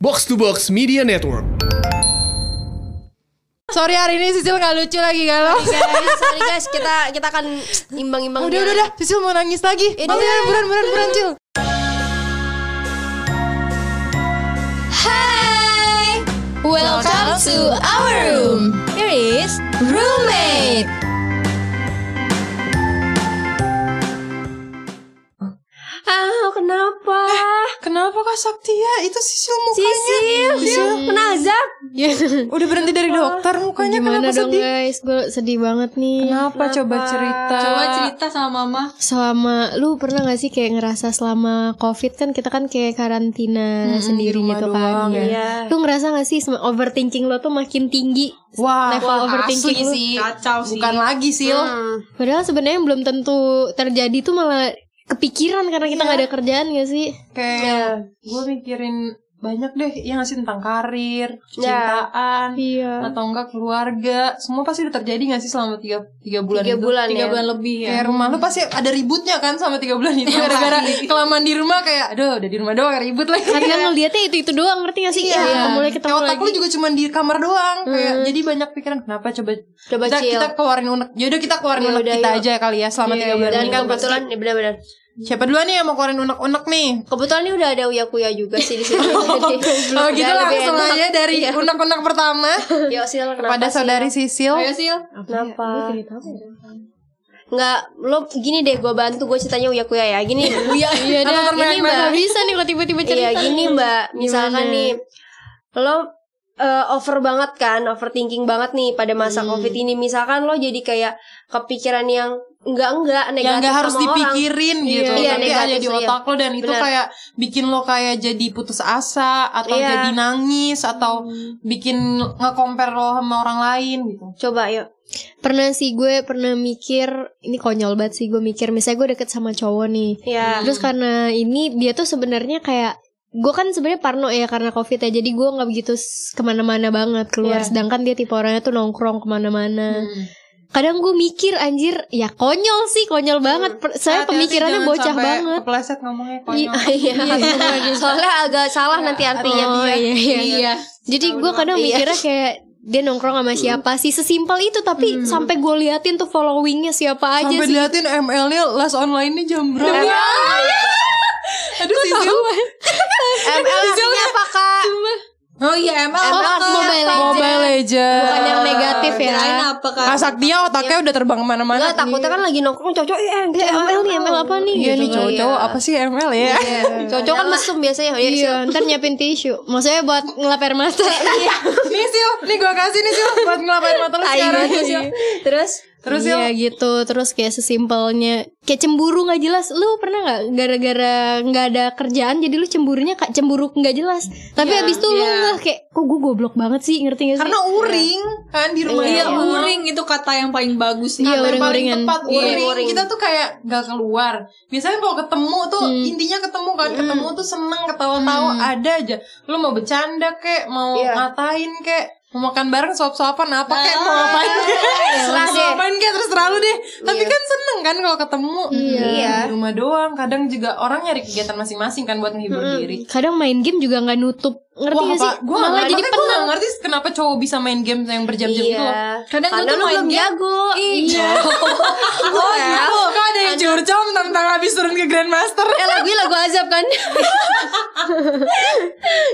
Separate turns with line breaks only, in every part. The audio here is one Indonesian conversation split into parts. Box to Box Media Network.
Sorry hari ini Sisil nggak lucu lagi galau.
guys, sorry guys, kita kita akan imbang-imbang.
Udah udah
jalan.
udah, Sisil mau nangis lagi.
Ini-
Buruan buruan buruan buruan Cil.
Hai, welcome to our room. Here is roommate. Ah, kenapa?
Ah, Kenapa Kak Saktia? Itu Sisil
Sisil,
Sisil. Hmm. Iya.
kena azab.
Udah berhenti dari dokter mukanya
Gimana
kenapa
dong
sedih?
guys, gue sedih banget nih
Kenapa coba cerita?
Coba cerita sama mama.
Selama, lu pernah gak sih kayak ngerasa selama covid kan Kita kan kayak karantina
Mm-mm, di
sendiri
rumah
gitu
doang,
kan ya.
iya.
Lu ngerasa gak sih sem- overthinking lo tuh makin tinggi
Wah,
Level overthinking lu
sih. Kacau sih.
bukan lagi Sil.
Padahal sebenarnya belum tentu terjadi tuh malah kepikiran Karena kita
Iya.
nggak ada kerjaan gak sih
Iya.
Kayak gue mikirin banyak deh yang ngasih tentang karir,
Iya.
cintaan,
Iya
atau enggak keluarga. Semua pasti udah terjadi gak sih selama tiga, tiga bulan
Tiga
itu?
bulan
tiga
ya.
bulan lebih ya. Kayak rumah lu pasti ada ributnya kan sama tiga bulan
Iya,
itu. Gara-gara kelamaan di rumah kayak, aduh udah di rumah doang ribut lagi.
Karena ngeliatnya itu-itu doang ngerti gak sih
Iya,
Ya, ketemu lagi,
Iya. Kayak
ketemu
otak
lagi
lu juga cuma di kamar doang kayak jadi banyak pikiran kenapa coba
Hmm. Coba
kita,
chill.
kita keluarin unek yaudah kita keluarin unek
Yaudah,
kita
yuk.
aja kali ya selama tiga bulan
Dan
ini.
kan kebetulan, ya benar-benar.
siapa duluan nih yang mau keluarin unek-unek nih
Kebetulan ini udah ada uya-kuya juga sih di sini. Jadi,
Oh gitu
udah lebih
langsung
enak. Iya.
aja dari unek-unek pertama
Yuk, Sil, kenapa
kepada
Sil?
saudari Sisil.
Kenapa? Nggak, lo gini deh, gue bantu, gue ceritanya uya-kuya ya. Gini, uya,
Iya dah,
Atau
ini
termehek-mehek.
gak bisa nih kalau tiba-tiba
Iya
cerita
gini mbak, misalkan
Gimana?
nih lo eh, over banget kan, overthinking banget nih pada masa
Hmm.
covid ini. Misalkan lo jadi kayak kepikiran yang enggak enggak negatif
yang nggak harus
sama orang.
dipikirin gitu,
Iya,
tapi
negatif,
ada di
iya.
otak lo dan itu
Benar.
kayak bikin lo kayak jadi putus asa atau
Iya.
jadi nangis atau bikin nge-compare lo sama orang lain gitu.
Coba yuk.
pernah sih gue pernah mikir ini konyol banget sih gue mikir misalnya gue deket sama cowok nih
Ya.
terus karena ini dia tuh sebenarnya kayak gue kan sebenarnya parno ya karena covid ya jadi gue nggak begitu s- kemana-mana banget keluar
Iya. Hmm.
sedangkan dia tipe orangnya tuh nongkrong kemana-mana kadang gue mikir anjir ya konyol sih konyol banget Per- saya
Hati-hati,
pemikirannya
jangan
bocah
sampai
banget
Kepleset ngomongnya
I-
konyol.
Iya. Soalnya agak salah nanti artinya.
Oh, iya, iya.
Iya.
Jadi gue kadang
Iya.
mikirnya kayak dia nongkrong sama siapa sih sesimpel itu tapi sampai gue liatin tuh followingnya siapa aja
Sampai
sih
diliatin ML-nya last online-nya jam berapa? Aduh Sisil.
ML artinya apa kak?
Oh iya ML.
ML
apa?
artinya
Mobile
apa?
Legends.
Mobile Legends.
bukan yang negatif ya Iya,
apa kak?
Kasak dia otaknya udah terbang kemana-mana.
Enggak, takutnya kan lagi nongkrong cocok ya,
Eh, ML nih ML apa nih
Iya
gitu
nih
kan.
cowok-cowok apa sih ML ya?
Cocok kan mesum biasanya. Iya.
Iya, ntar nyiapin tisu. Maksudnya buat ngelap air mata. Iya.
nih Sil, nih gua kasih nih Sil buat ngelapain mata lu sekarang.
Terus
Terus Sil,
gitu Iya gitu. Terus kayak sesimpelnya kayak cemburu nggak jelas. Lu pernah nggak gara-gara nggak ada kerjaan jadi lu cemburunya kayak cemburu nggak jelas. Tapi abis itu lu nggak kayak kok gue goblok banget sih ngerti gak sih?
karena uring kan di rumah
Iya,
doang.
uring itu kata yang paling bagus
Iya,
Kata yang paling
uring-uringan.
tepat uring.
uring.
Kita tuh kayak gak keluar. Biasanya kalau ketemu tuh intinya ketemu kan, ketemu tuh seneng ketawa-tawa ada aja. Lu mau bercanda kek, mau
Iya.
ngatain kek, mau makan bareng suap-suapan apa kek, mau ngapain kek.
Terserah
Mau
deh.
ngapain kek terus terlalu deh. Tapi kan seneng kan kalau ketemu
Iya.
di rumah doang. Kadang juga orang nyari kegiatan masing-masing kan buat menghibur diri.
Kadang main game juga nggak nutup. Ngerti
Wah,
gak sih?
apa? Gua
Malah jadi
gue
penat. Iya.
gak ngerti kenapa cowok bisa main game yang berjam-jam
Iya.
itu loh.
Kadang
Karena
gue tuh
lu
main
belum
game.
jago.
Iya.
Oh, iya. Kok ada yang curcol tentang habis turun ke Grandmaster?
Eh lagunya lagu azab kan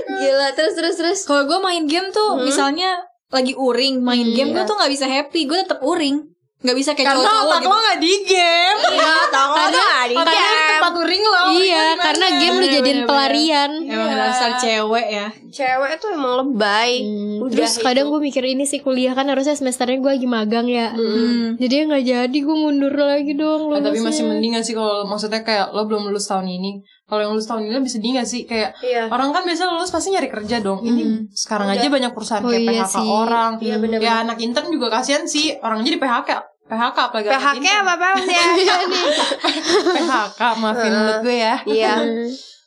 Gila terus terus terus Hmm?
Kalau gue main game tuh misalnya lagi uring main game
iya.
gue tuh nggak bisa happy, gue tetap uring. Nggak bisa kayak
Karena
cowok-cowok gitu.
otak lo gak di game.
Iya tau
Otak lo di tempat uring lo.
Iya, karena game lu jadiin
bener.
pelarian.
Iya.
Iya.
Emang dasar cewek ya.
Cewek tuh emang lebay Udah
Hmm. Terus
itu.
kadang gue mikir ini sih kuliah kan harusnya semesternya gue lagi magang ya.
Hmm.
Jadi nggak jadi gue mundur lagi
Eh,
dong
Ah,
lulusnya.
tapi masih mending gak sih kalau maksudnya kayak lo belum lulus tahun ini. Kalau yang lulus tahun ini lebih sedih gak sih? Kayak
Iya.
orang kan biasa lulus pasti nyari kerja dong. Ini sekarang aja banyak perusahaan
Oh,
kayak
iya
PHK
sih.
orang.
Iya, bener-bener.
ya anak intern juga kasihan sih. Orang jadi PHK. PHK apalagi anak
PHK
intern.
apa apa ya
Hmm.
PHK maafin menurut gue ya.
Iya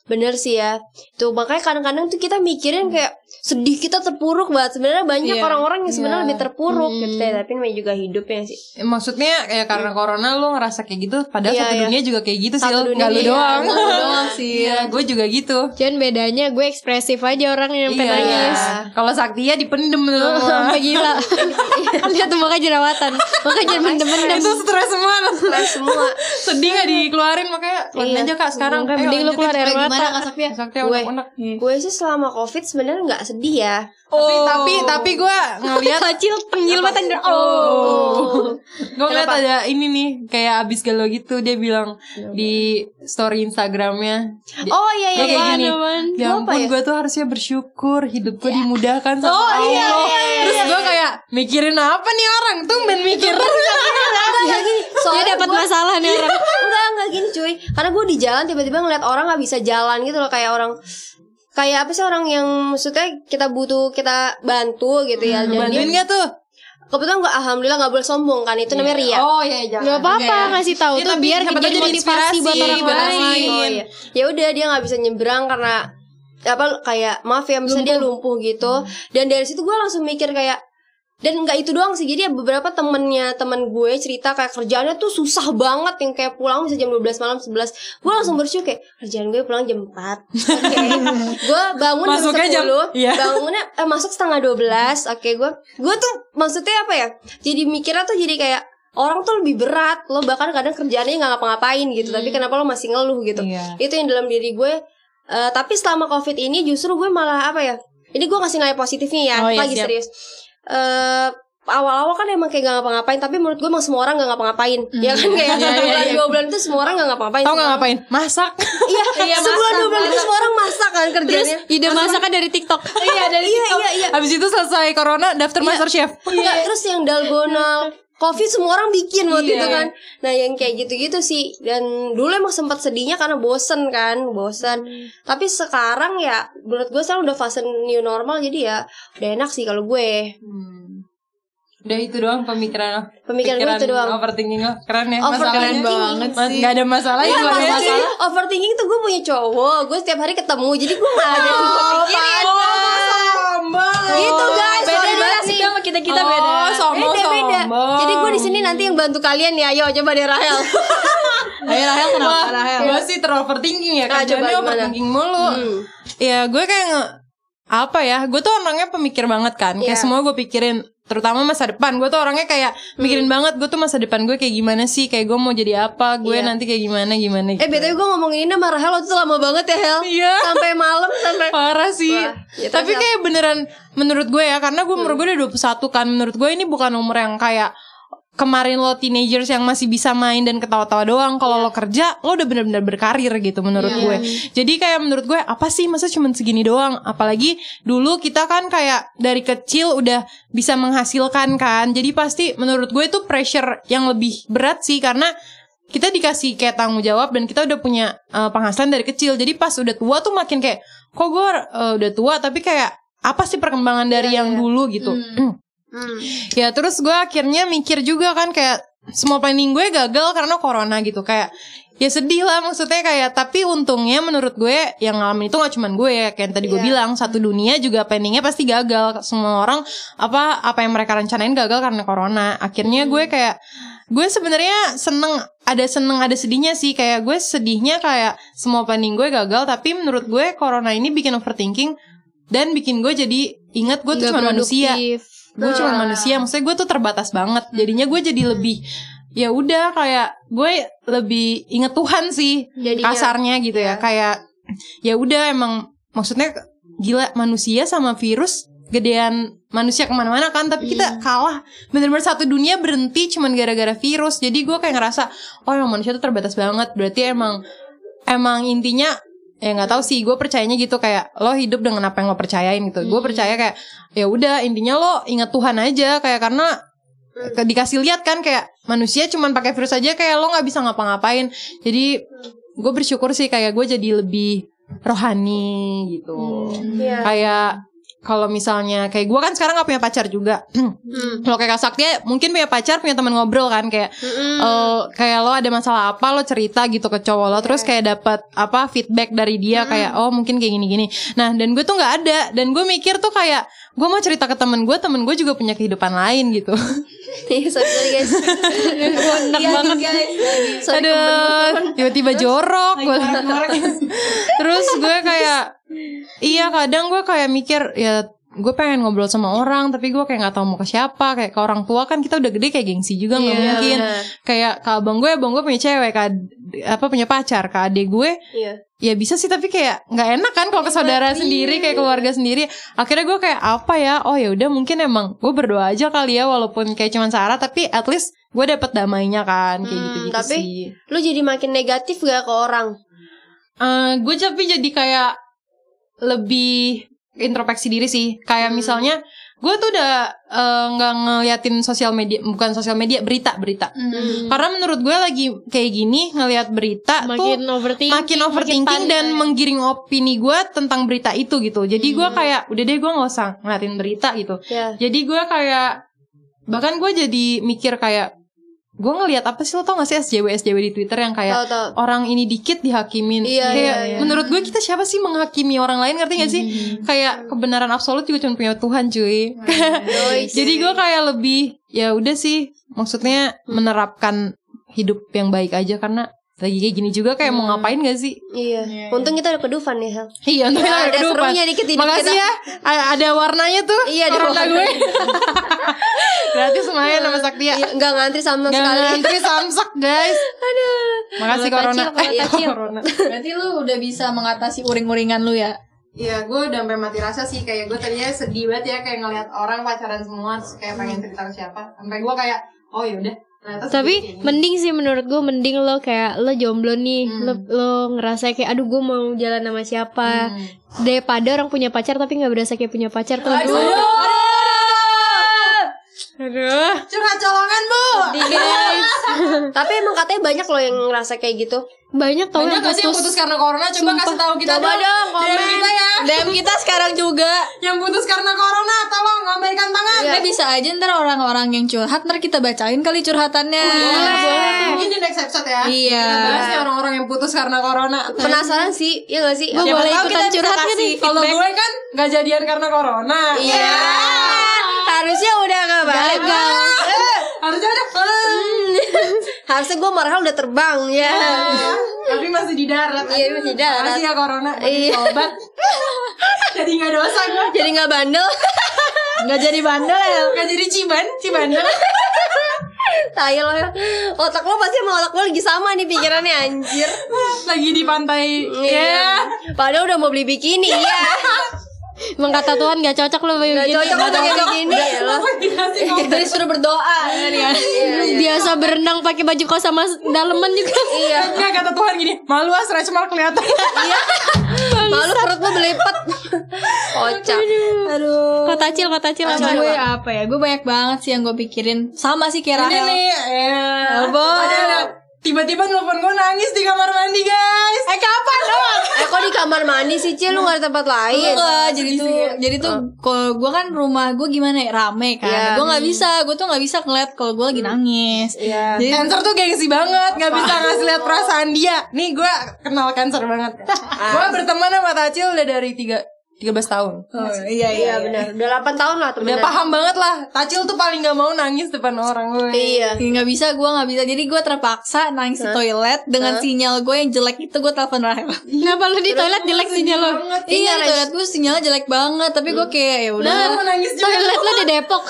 Bener sih ya. Tuh makanya kadang-kadang tuh kita mikirin kayak sedih kita terpuruk banget. Sebenarnya banyak
Iya.
orang-orang yang
Iya.
sebenarnya lebih terpuruk
Hmm.
gitu ya. Tapi namanya juga hidup ya sih.
Maksudnya ya karena corona lo ngerasa kayak gitu Padahal
Iya,
satu
iya.
dunia juga kayak gitu sih
Satu
lo
dunia,
Gak lu
iya,
doang
nggak lu doang
Iya gue juga gitu Iya,
Cuman bedanya gue ekspresif aja orang
Iya.
yang sampai nangis.
Kalau Saktia dipendem tuh
Sampai gila. Lihat tuh makanya jerawatan. Makanya jangan mendem-mendem.
Itu stres semua lo.
Semua
Sedih gak dikeluarin makanya Keluarin
Iya.
aja kak sekarang Eh,
Makanya mending lu keluar air
Gimana
mata.
Kak Saktia?
Saktia
Gue.
unek-unek
gue sih selama covid sebenarnya nggak sedih ya.
Tapi tapi tapi gue ngeliat
Kecil tengil mata.
Oh.
Oh, gue ngeliat ada ini nih kayak abis galau gitu dia bilang di story Instagramnya. Dia-
Oh iya iya.
dia kayak
iya.
gini. Ya
Lu apa
ampun,
ya?" Iya. Oh,
gue tuh harusnya bersyukur hidup gue dimudahkan sama Allah. Terus gue kayak mikirin apa nih orang tuh main mikir.
Enggak, enggak gini. Soalnya
Dia dapat
gua-
masalah nih orang.
Enggak, enggak gini cuy. Karena gue di jalan tiba-tiba ngeliat orang nggak bisa jalan gitu loh kayak orang kayak apa sih orang yang maksudnya kita butuh kita bantu gitu ya. Dan dia-
Bantuin gak tuh?
kebetulan gue alhamdulillah nggak boleh sombong kan itu namanya ria.
Oh iya jangan.
Gak apa-apa ngasih tahu
Ya,
tuh
tapi
biar
siapa tahu
jadi
jadi
motivasi
inspirasi
buat orang
buat orang
lain.
lain.
Oh iya. Ya udah dia nggak bisa nyebrang karena apa kayak maaf ya misalnya dia lumpuh gitu. Dan dari situ gue langsung mikir kayak dan nggak itu doang sih jadi ya beberapa temennya teman gue cerita kayak kerjaannya tuh susah banget yang kayak pulang bisa jam 12 malam 11 gue langsung bersyukur kayak kerjaan gue pulang jam 4 oke gue bangun
Masuknya
jam
jam-
10
iya.
bangunnya eh, masuk setengah 12 oke gue gue tuh maksudnya apa ya jadi mikirnya tuh jadi kayak orang tuh lebih berat lo bahkan kadang kerjaannya nggak ngapa-ngapain gitu tapi kenapa lo masih ngeluh gitu
Hmm. Iya.
itu yang dalam diri gue Eh, tapi selama covid ini justru gue malah apa ya ini gue ngasih nilai positifnya ya
Oh, iya,
lagi
siap.
serius Eh, awal-awal kan emang kayak gak ngapa-ngapain tapi menurut gue emang semua orang gak ngapa-ngapain
Hmm.
ya kan
Iya,
kayak bulan dua bulan itu semua orang gak ngapa-ngapain
Tahu nggak ngapain? Masak.
iya sebulan dua bulan itu semua orang masak kan
Terus
eh,
kerjanya
ide masakan dari TikTok.
iya dari
iya iya iya
Abis itu selesai corona daftar master chef.
Oh, Enggak, terus yang dalgona Covid semua orang bikin waktu
Iya.
itu kan Nah yang kayak gitu-gitu sih Dan dulu emang sempat sedihnya karena bosen kan Bosen Tapi sekarang ya Menurut gue sekarang udah fase new normal Jadi ya udah enak sih kalau gue
Udah itu doang pemikiran lo.
Pemikiran gue itu doang.
Overthinking lo keren ya.
Overthinking. Iya,
Masalahnya
Banget
Mas, Gak ada masalah ya, keluar
Masalah-
aja.
overthinking tuh gue punya cowok Gue setiap hari ketemu Jadi gue gak ada yang gue pikirin Gitu guys Beda banget nih
sama kita-kita
Oh,
beda.
sombong,
Beda beda
sombong.
Jadi gue di sini nanti yang bantu kalian ya Ayo coba deh Rahel
Ayo Rahel kenapa Rahel?
Gue sih teroverthinking ya
iya. Nah, coba
Kerjaannya
gimana?
overthinking mulu
Hmm.
Ya gue kayak nge- Apa ya Gue tuh orangnya pemikir banget kan Kayak
Iya.
semua gue pikirin Terutama masa depan Gue tuh orangnya kayak
Hmm.
Mikirin banget Gue tuh masa depan gue kayak gimana sih Kayak gue mau jadi apa Gue
Iya.
nanti kayak gimana Gimana
Eh btw gue ngomongin ini sama Rahel Waktu itu lama banget ya Hel
Iya.
Sampai malam sampai
Parah sih.
Wah, ya Hmm. terus
Tapi
ya.
kayak beneran menurut gue ya karena gue umur gue udah 21 kan. Menurut gue ini bukan umur yang kayak kemarin lo teenagers yang masih bisa main dan ketawa-tawa doang
Iya.
kalau lo kerja lo udah bener-bener berkarir gitu menurut gue jadi kayak menurut gue apa sih masa cuman segini doang apalagi dulu kita kan kayak dari kecil udah bisa menghasilkan kan jadi pasti menurut gue itu pressure yang lebih berat sih karena kita dikasih kayak tanggung jawab dan kita udah punya eh, penghasilan dari kecil jadi pas udah tua tuh makin kayak kok gue eh, udah tua tapi kayak apa sih perkembangan dari yang dulu gitu ya terus gue akhirnya mikir juga kan kayak semua planning gue gagal karena corona gitu kayak ya sedih lah maksudnya kayak tapi untungnya menurut gue yang ngalamin itu nggak cuman gue ya kayak yang tadi
Iya.
gue bilang satu dunia juga planningnya pasti gagal semua orang apa apa yang mereka rencanain gagal karena corona akhirnya
Hmm.
gue kayak gue sebenarnya seneng ada seneng ada sedihnya sih kayak gue sedihnya kayak semua planning gue gagal tapi menurut gue corona ini bikin overthinking dan bikin gue jadi ingat gue tuh
Nggak
cuma manusia
produktif.
gue cuma manusia maksudnya gue tuh terbatas banget jadinya gue jadi lebih ya udah kayak gue lebih inget Tuhan sih
Jadinya.
kasarnya gitu ya kayak ya udah emang maksudnya gila manusia sama virus gedean manusia kemana-mana kan tapi kita kalah bener-bener satu dunia berhenti cuman gara-gara virus jadi gue kayak ngerasa oh emang manusia tuh terbatas banget berarti emang emang intinya ya nggak tahu sih gue percayanya gitu kayak lo hidup dengan apa yang lo percayain gitu gue percaya kayak ya udah intinya lo ingat Tuhan aja kayak karena ke- dikasih lihat kan kayak manusia cuman pakai virus aja kayak lo nggak bisa ngapa-ngapain jadi gue bersyukur sih kayak gue jadi lebih rohani gitu
Iya.
kayak kalau misalnya kayak gue kan sekarang gak punya pacar juga kalau kayak Kak Saktia mungkin punya pacar punya teman ngobrol kan kayak eh, kayak lo ada masalah apa lo cerita gitu ke cowok lo terus kayak dapat apa feedback dari dia kayak oh mungkin kayak gini gini nah dan gue tuh nggak ada dan gue mikir tuh kayak gue mau cerita ke temen gue temen gue juga punya kehidupan lain gitu
Iya, sorry, sorry guys.
Iya nih guys.
Sorry,
Aduh, tiba-tiba jorok gue. Terus gue kayak iya kadang gue kayak mikir ya gue pengen ngobrol sama orang tapi gue kayak nggak tahu mau ke siapa kayak ke orang tua kan kita udah gede kayak gengsi juga nggak mungkin
Iya, benar.
kayak ke abang gue abang gue punya cewek ke ad- apa punya pacar ke adik gue
Iya.
ya bisa sih tapi kayak nggak enak kan kalau ke saudara sendiri kayak keluarga sendiri akhirnya gue kayak apa ya oh ya udah mungkin emang gue berdoa aja kali ya walaupun kayak cuman sarah tapi at least gue dapet damainya kan kayak
Hmm,
gitu gitu
tapi-
sih
Lu jadi makin negatif gak ke orang?
Eh, gue tapi jadi kayak lebih introspeksi diri sih. Kayak misalnya gue tuh udah eh, nggak ngeliatin sosial media, bukan sosial media, berita berita.
Hmm.
Karena menurut gue lagi kayak gini ngelihat berita
makin
tuh
overthinking
makin overthinking
panik.
dan menggiring opini gue tentang berita itu gitu. Jadi gue kayak udah deh gue nggak usah ngeliatin berita gitu.
Ya.
Jadi gue kayak bahkan gue jadi mikir kayak gue ngelihat apa sih lo tau gak sih SJW SJW di Twitter yang kayak
Tahu tahu.
orang ini dikit dihakimin.
Iya,
kayak
iya, Mm-hmm. iya.
menurut gue kita siapa sih menghakimi orang lain ngerti gak sih? Kayak kebenaran absolut juga cuma punya Tuhan cuy. Jadi gue kayak lebih ya udah sih maksudnya menerapkan hidup yang baik aja karena lagi kayak gini juga kayak
Mm.
mau ngapain gak sih?
Iya. Untung kita udah kedufan ya. Hel.
Iya, untuk
Ada
yang kedua,
serunya
Pan.
dikit hidup
Makasih
kita.
ya. A- Ada warnanya tuh.
Iya, ada
corona
warna.
gue. Gratis main sama Saktia.
Iya, nggak ngantri sama
Jangan
sekali.
ngantri samsak, guys. Aduh. Makasih
Kalau
corona.
tacil, kalau
Eh,
tacil.
corona.
Berarti lu udah bisa mengatasi uring-uringan lu ya?
Iya, gue udah sampai mati rasa sih kayak gue tadinya sedih banget ya kayak ngelihat orang pacaran semua terus kayak
Hmm.
pengen cerita ke siapa. Sampai gue kayak oh yaudah. ternyata sedih
tapi
kayak gini.
mending sih menurut gue mending lo kayak lo jomblo nih lo
Mm.
lo ngerasa kayak aduh gue mau jalan sama siapa
Mm.
daripada orang punya pacar tapi nggak berasa kayak punya pacar tuh aduh,
aduh curhat colongan bu.
Iya.
Tapi emang katanya banyak loh yang ngerasa kayak gitu.
banyak tau
Banyak
yang
gak sih yang putus karena corona? Coba kasih tahu kita
Coba dong,
DM kita ya.
DM kita sekarang juga. Iya.
Yang putus karena corona, tolong ngomongkan tangan.
Iya.
Tapi bisa aja ntar orang-orang yang curhat ntar kita bacain kali curhatannya.
Mungkin di next episode ya.
Iya.
Kita bahas nih orang-orang yang putus karena corona.
Penasaran sih, ya gak sih?
Siapa
boleh
tahu
ikutan
kita
curhat
curhat
gak nih? Kalau gue kan gak jadian karena corona.
Iya. Harusnya udah gak balik
Harusnya Eh, ada
Harusnya gue marah udah terbang ya.
Tapi masih di darat.
Iya, masih di darat.
Masih ya corona.
Iya.
Iya. Obat. Jadi gak dosa gue.
Jadi gak bandel.
Gak jadi bandel ya. Gak jadi ciban, cibandel.
Tai lo ya. Otak lo pasti sama otak lo lagi sama nih pikirannya anjir.
Lagi di pantai. Iya.
Padahal udah mau beli bikini ya.
emang kata Tuhan gak cocok lo
Iya,
kayak
Gak
gini.
cocok lo pakai bikini ya lo.
Dikasih kopi.
Jadi suruh berdoa
Iya.
kan ya.
biasa berenang pakai baju kaos sama s- daleman juga
Iya.
Nggak, kata Tuhan gini, malu ah stretch mark kelihatan.
Malu perut lo belepet. Kocak.
Aduh.
kota cil kota cil
Sama
apa?
gue apa ya? Gue banyak banget sih yang gue pikirin. Sama sih
Ini
kayak Rahel.
nih, eh. Ada ada. Tiba-tiba nelfon gue nangis di kamar mandi guys. Eh kapan dong?
Eh kok di kamar mandi sih Cil lu gak ada tempat lain?
Enggak, jadi tuh jadi tuh kalau gue kan rumah gue gimana ya rame kan.
Iya.
Gue nggak bisa, gue tuh nggak bisa ngeliat kalau gue lagi nangis. Jadi
Iya. Cancer tuh gengsi banget, nggak bisa ngasih lihat perasaan dia. Nih gue kenal cancer banget. gue berteman sama Tacil udah dari tiga 13 tahun.
Oh, iya iya.
Iya benar. Udah 8 tahun lah
Udah
temenan.
paham banget lah. Tacil tuh paling gak mau nangis depan orang gue.
Iya.
Iya, nggak bisa, gue nggak bisa. Jadi gue terpaksa nangis di toilet dengan sinyal gue yang jelek itu gue telepon Rahel.
kenapa lo di toilet jelek sinyal lo
iya, di toilet gue sinyalnya jelek banget, tapi gue kayak ya udah.
Mau nangis juga.
toilet lo di Depok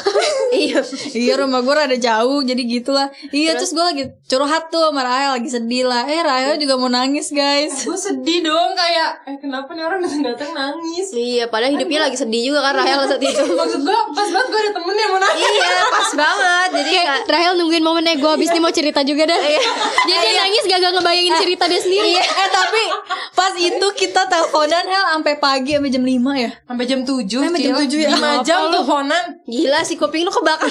Iya.
iya rumah gue rada jauh jadi gitulah iya terus gue lagi curhat tuh sama Rahel lagi sedih lah eh Rahel juga mau nangis guys
Gue sedih dong kayak, eh kenapa nih orang datang-datang nangis?
Iya, padahal hidupnya lagi sedih juga kan Rahel saat itu.
Maksud gue pas banget gue ada temen yang mau nangis.
Iya, pas banget. Jadi Iya. kayak
Rahel nungguin momennya gue abis nih mau cerita juga dah Jadi dia nangis gak, gak ngebayangin cerita dia sendiri
iya eh tapi pas itu kita teleponan Hel sampai pagi sampai jam 5 ya
Sampai jam 7
Sampai jam 7 ya.
5 jam teleponan
gila sih kuping lu kebakar.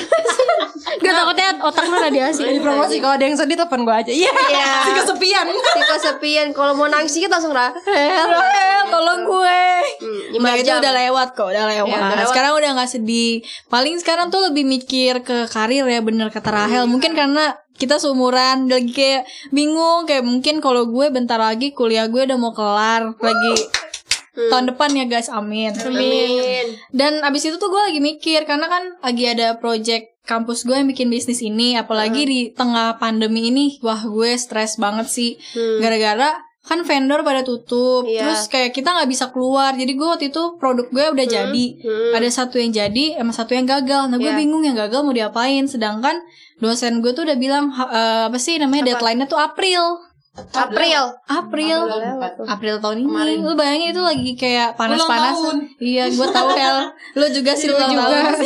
Gue takutnya otak lo radiasi
Jadi promosi kalau ada yang sedih telepon gue aja Iya
Iya.
Si kesepian
Si kesepian kalau mau nangis dikit langsung Rahel.
Rahel tolong gue
Hmm,
Nah,
lima
itu
jam Ya,
udah lewat kok, udah lewat. Nah,
udah lewat.
Sekarang udah nggak sedih. Paling sekarang tuh lebih mikir ke karir ya, bener kata
Iya.
Rahel. Mungkin karena kita seumuran, udah lagi kayak bingung, kayak mungkin kalau gue bentar lagi kuliah gue udah mau kelar, lagi tahun depan ya guys, amin.
Hmm. Amin.
Dan abis itu tuh gue lagi mikir karena kan lagi ada project kampus gue yang bikin bisnis ini, apalagi di tengah pandemi ini, wah gue stres banget sih, gara-gara kan vendor pada tutup,
Iya.
terus kayak kita nggak bisa keluar, jadi gue waktu itu produk gue udah jadi, ada satu yang jadi, emang satu yang gagal, nah gue
Hmm. Iya.
bingung yang gagal mau diapain, sedangkan dosen gue tuh udah bilang ha- eh, apa sih namanya deadline-nya tuh April.
April.
April April tahun ini Lu bayangin itu lagi kayak panas-panas Iya gue tahu Hel Lu juga sih lu juga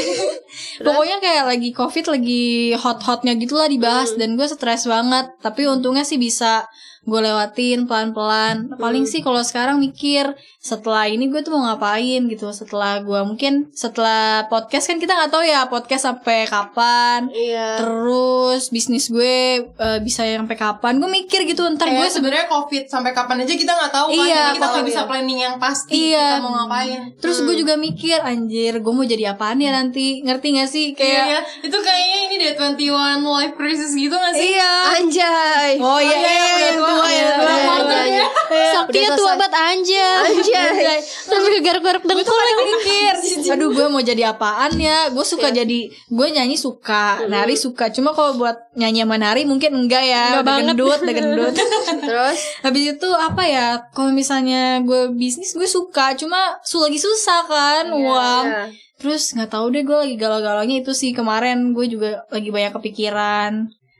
Pokoknya kayak lagi covid Lagi hot-hotnya gitu lah dibahas Dan gue stres banget Tapi untungnya sih bisa Gue lewatin pelan-pelan Paling sih kalau sekarang mikir Setelah ini gue tuh mau ngapain gitu Setelah gue mungkin Setelah podcast kan kita nggak tahu ya Podcast sampai kapan
Iya.
Terus bisnis gue eh, bisa sampai kapan? Gue mikir gitu ntar
Gue
gue se-
sebenarnya covid sampai kapan aja kita nggak tahu kan,
Iya,
jadi kita nggak
tahu,
bisa
iya.
planning yang pasti
Iya.
kita mau ngapain.
terus gue juga mikir anjir gue mau jadi apaan ya nanti ngerti gak
Iya,
sih kayak
ya. itu kayaknya ini deh 21 life crisis gitu gak sih?
Anjay.
oh iya
iya,
iya
udah
yang tua ya
Iya,
tua.
iya,
Martin
iya.
Saktinya
Udah
tua
selesai.
banget aja.
Anjay.
Sampai garuk-garuk dengkul lagi.
mikir aduh gue mau jadi apaan ya gue suka jadi gue nyanyi suka nari suka cuma kalau buat nyanyi sama nari mungkin enggak ya udah gendut udah gendut
Terus
Habis itu apa ya? Kalau misalnya gue bisnis gue suka, cuma su lagi susah kan uang.
iya.
Terus nggak tahu deh gue lagi galau-galaunya itu sih kemarin gue juga lagi banyak kepikiran.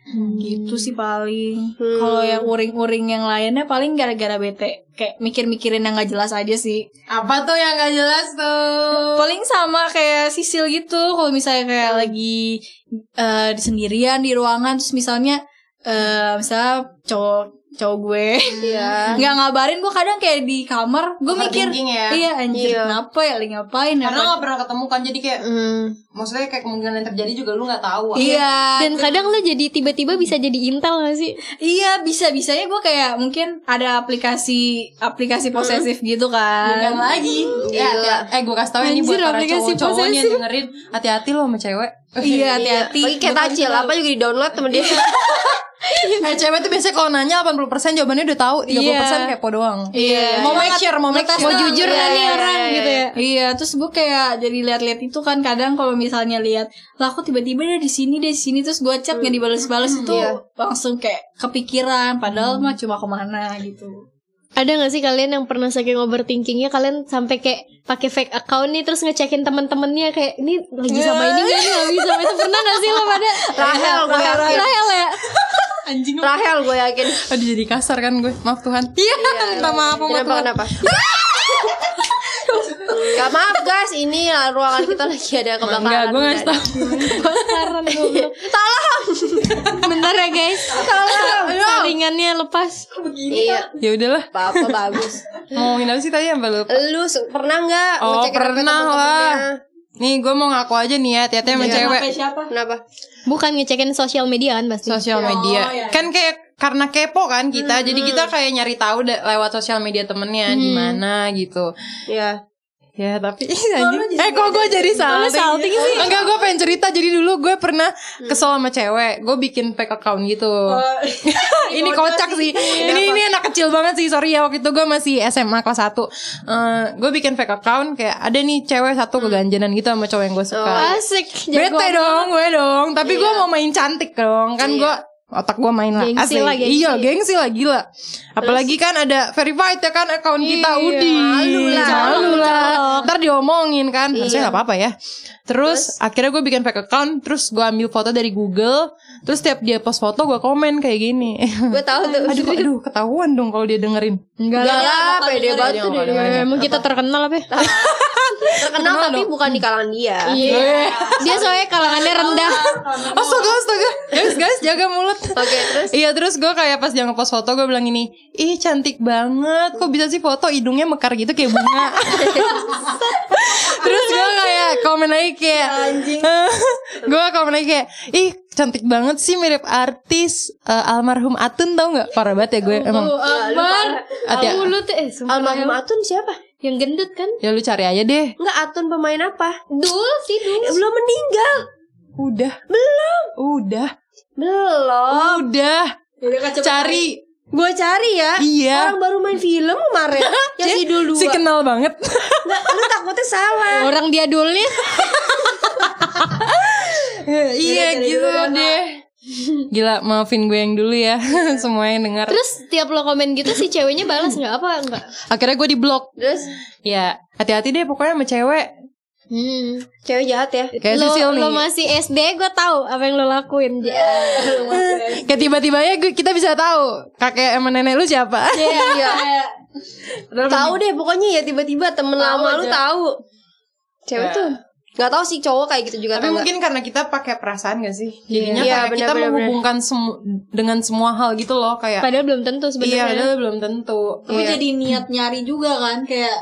Hmm.
Gitu sih paling. Kalau yang uring-uring yang lainnya paling gara-gara bete. Kayak mikir-mikirin yang gak jelas aja sih.
Apa tuh yang gak jelas tuh?
Paling sama kayak sisil gitu. Kalau misalnya kayak
Hmm.
lagi eh, di sendirian di ruangan terus misalnya eh misalnya cowok cowok gue
Iya.
nggak ngabarin gue kadang kayak di kamar gue mikir
Overthinking ya.
iya anjir
Iya.
kenapa ya lagi ngapain ya
Karena gak pernah ketemu kan jadi kayak maksudnya kayak kemungkinan yang terjadi juga lu nggak tahu.
Hmm. iya
ya?
Dan kadang lo jadi tiba-tiba bisa jadi intel gak sih?
iya bisa bisanya gue kayak mungkin ada aplikasi aplikasi posesif gitu
Bukan
kan
lagi. Ya,
Gila.
hati- eh gue kasih tau ini buat
Anjir,
para
aplikasi
cowok-cowok nih yang dengerin hati-hati lo sama cewek.
iya hati-hati
Lagi kayak tacil, apa juga di download temen dia.
Eh cewek tuh biasanya kalau nanya 80% jawabannya udah tahu, 30%
Iya.
kepo doang.
Iya,
Mau make sure, mau make sure.
Mau jujur
Iya,
kan nih
iya,
orang
iya,
gitu ya. Iya, terus gue kayak jadi lihat-lihat itu kan kadang kalau misalnya lihat, lah aku tiba-tiba ada di sini, di sini terus gue chat nggak dibales-bales itu langsung kayak kepikiran padahal mah cuma kemana gitu.
Ada gak sih kalian yang pernah saking overthinkingnya kalian sampai kayak pakai fake account nih terus ngecekin temen-temennya kayak ini lagi sama ini gak nih lagi sama itu pernah gak sih lo pada?
Rahel gue yakin.
Rahel ya.
Anjing lu.
Rahel gue yakin.
Aduh jadi kasar kan gue. Maaf Tuhan. Iya, minta maaf sama
Kenapa
Tuhan.
kenapa? Gak maaf guys, ini uh, ruangan kita lagi ada kebakaran.
Enggak, gue ngasih tau
Kebakaran goblok. Bentar ya guys. Saringannya lepas.
Iya,
Ya udahlah
apa-apa bagus.
Ngomongin apa sih tadi yang baru
Lu se- pernah nggak
Oh,
ngecekin HP
pernah lah.
temen-temennya?
Nih gue mau ngaku aja nih ya Hati-hati
Iya,
sama cewek
siapa?
Kenapa?
Bukan ngecekin sosial media kan pasti.
Sosial media Kan kayak karena kepo kan kita Jadi kita kayak nyari tahu da- lewat sosial media temennya di mana gitu
Iya.
Ya tapi anjing. Eh kok gue jadi salting, sih Mm. Enggak gue pengen cerita Jadi dulu gue pernah kesel sama cewek Gue bikin fake account gitu Ini kocak sih Iya, Ini ini anak kecil banget sih Sorry ya waktu itu gue masih SMA kelas 1 Gue bikin fake account Kayak ada nih cewek satu keganjanan gitu Sama cowok yang gue suka
Asik. jago.
Bete dong gue dong Tapi gue mau main cantik dong Kan gue Otak gue main lah asli.
Gengsi lah, gengsi.
Iya gengsi lah gila Apalagi kan ada verified ya kan Account kita Udi
malu lah.
Malu lah Ntar diomongin kan Harusnya gak apa-apa ya Terus, akhirnya gue bikin fake account Terus gue ambil foto dari Google Terus setiap dia post foto Gue komen kayak gini
Gue tahu tuh.
Aduh aduh ketahuan dong kalau dia dengerin
Enggak lah, pede banget tuh dia.
Eh, Emang kita terkenal apa? ya?
Terkenal tapi bukan di kalangan dia.
Iya. Dia soalnya kalangannya rendah.
Astaga astaga Guys guys jaga mulut
Oke, terus
Iya terus gue kayak pas dia ngepost foto gue bilang ini Ih cantik banget Kok bisa sih foto hidungnya mekar gitu kayak bunga Terus gue kayak komen lagi kayak Gue komen lagi kayak Ih cantik banget sih mirip artis eh, Almarhum Atun tau gak Parah banget ya gue emang
Aman.
Hati-
Mulut eh sumpah.
almarhum Atun siapa?
Yang gendut kan?
Ya lu cari aja deh.
Enggak Atun pemain apa?
Dul sih dul.
Eh, belum meninggal.
Udah. Oh. Belum. Udah.
Belum.
Udah. Cari.
Gue cari ya.
Iya.
Orang baru main film kemarin. yang si dulu.
Si Oh. kenal banget.
Nggak, lu takutnya salah.
Orang dia dulnya.
iya gitu deh. Gila, maafin gue yang dulu ya. Semua yang dengar.
Terus tiap lo komen gitu si ceweknya balas nggak apa nggak?
Akhirnya gue di blok.
Terus Iya.
Ya, hati-hati deh pokoknya sama cewek.
Hmm.
cewek jahat ya.
Kayak
lo,
Sisil nih.
lo masih SD gue tahu apa yang lo lakuin.
Kayak tiba-tiba ya gue- kita bisa tahu kakek sama nenek lu siapa.
Iya. tahu deh pokoknya ya tiba-tiba temen lama lu tahu.
Ya.
Cewek tuh. Nggak tahu sih cowok kayak gitu
Tapi
juga atau nggak.
mungkin karena kita pakai perasaan gak sih? Jadinya
Iya,
kayak kita
benar, benar,
menghubungkan semu- dengan semua hal gitu loh kayak
Padahal belum tentu
iya,
sebenarnya.
padahal belum tentu. Iya.
Aku
Iya.
jadi niat nyari juga kan kayak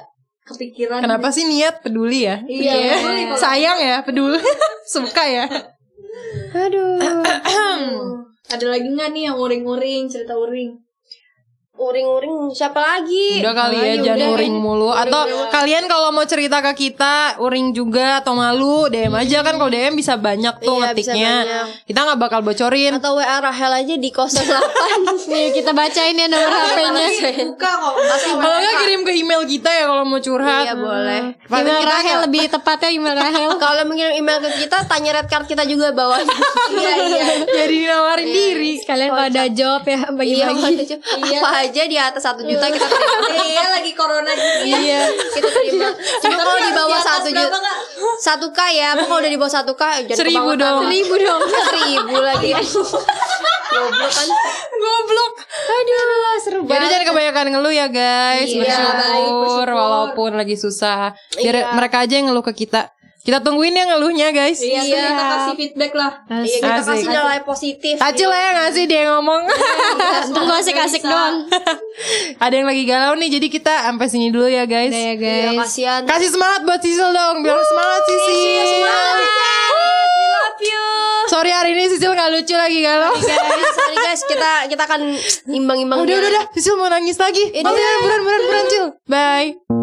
kepikiran.
Kenapa sih niat peduli ya?
Iya. peduli kalau-
Sayang ya, peduli. Suka ya.
Ada lagi nggak nih yang uring-uring cerita uring?
Uring-uring siapa lagi?
Udah kali ya,
Ayo,
jangan
udah.
uring mulu. Atau kalian kalau mau cerita ke kita, uring juga atau malu, DM aja kan. Kalau DM bisa banyak tuh
Iya, bisa
ngetiknya.
banyak.
Kita nggak bakal bocorin.
Atau WA Rahel aja di 08
Nih, kita bacain ya nomor HP-nya.
Iya.
Buka kok.
Kalau nggak kirim ke email kita ya kalau mau curhat.
Iya boleh
Paling
Email
kita
Rahel lebih tepatnya email Rahel.
Kalau mengirim email ke kita Tanya red card kita juga bawa Iya iya
jadi nawarin diri.
Kalian kalau ada job ya
Iya,
bagi-bagi.
apa aja di atas satu juta kita terima.
Iya lagi corona gini.
Iya, kita terima. Cuma kalau di bawah satu
Iya, berapa,
juta, satu k ya. Apa kalau udah di bawah satu k, jangan
Seribu
kebangetan.
dong.
Seribu dong. Seribu lagi. Goblok kan?
Goblok.
Aduh, seru
Jadi jangan kebanyakan ngeluh ya guys.
Iya,
bersyukur,
baik, bersyukur.
walaupun lagi susah. Biar mereka aja yang ngeluh ke kita. Kita tungguin ya ngeluhnya guys.
Iya,
Iya.
kita kasih feedback lah.
Iya, kita kasih
Asik.
nilai positif.
Acil ya nggak sih dia yang ngomong.
Iya,
Tunggu asik-asik doang.
Ada yang lagi galau nih. Jadi kita sampai sini dulu ya guys.
Udah ya
Iya,
guys.
kasihan.
Kasih semangat buat Sisil dong. Biar semangat
iya,
Sisil.
Love you.
Sorry hari ini Sisil nggak lucu lagi galau.
Guys, sorry guys, kita kita akan imbang-imbang.
Udah
dia.
udah udah. Sisil mau nangis lagi. Oh, iya,
Ini-
Buruan buruan buruan buruan Cil. Bye.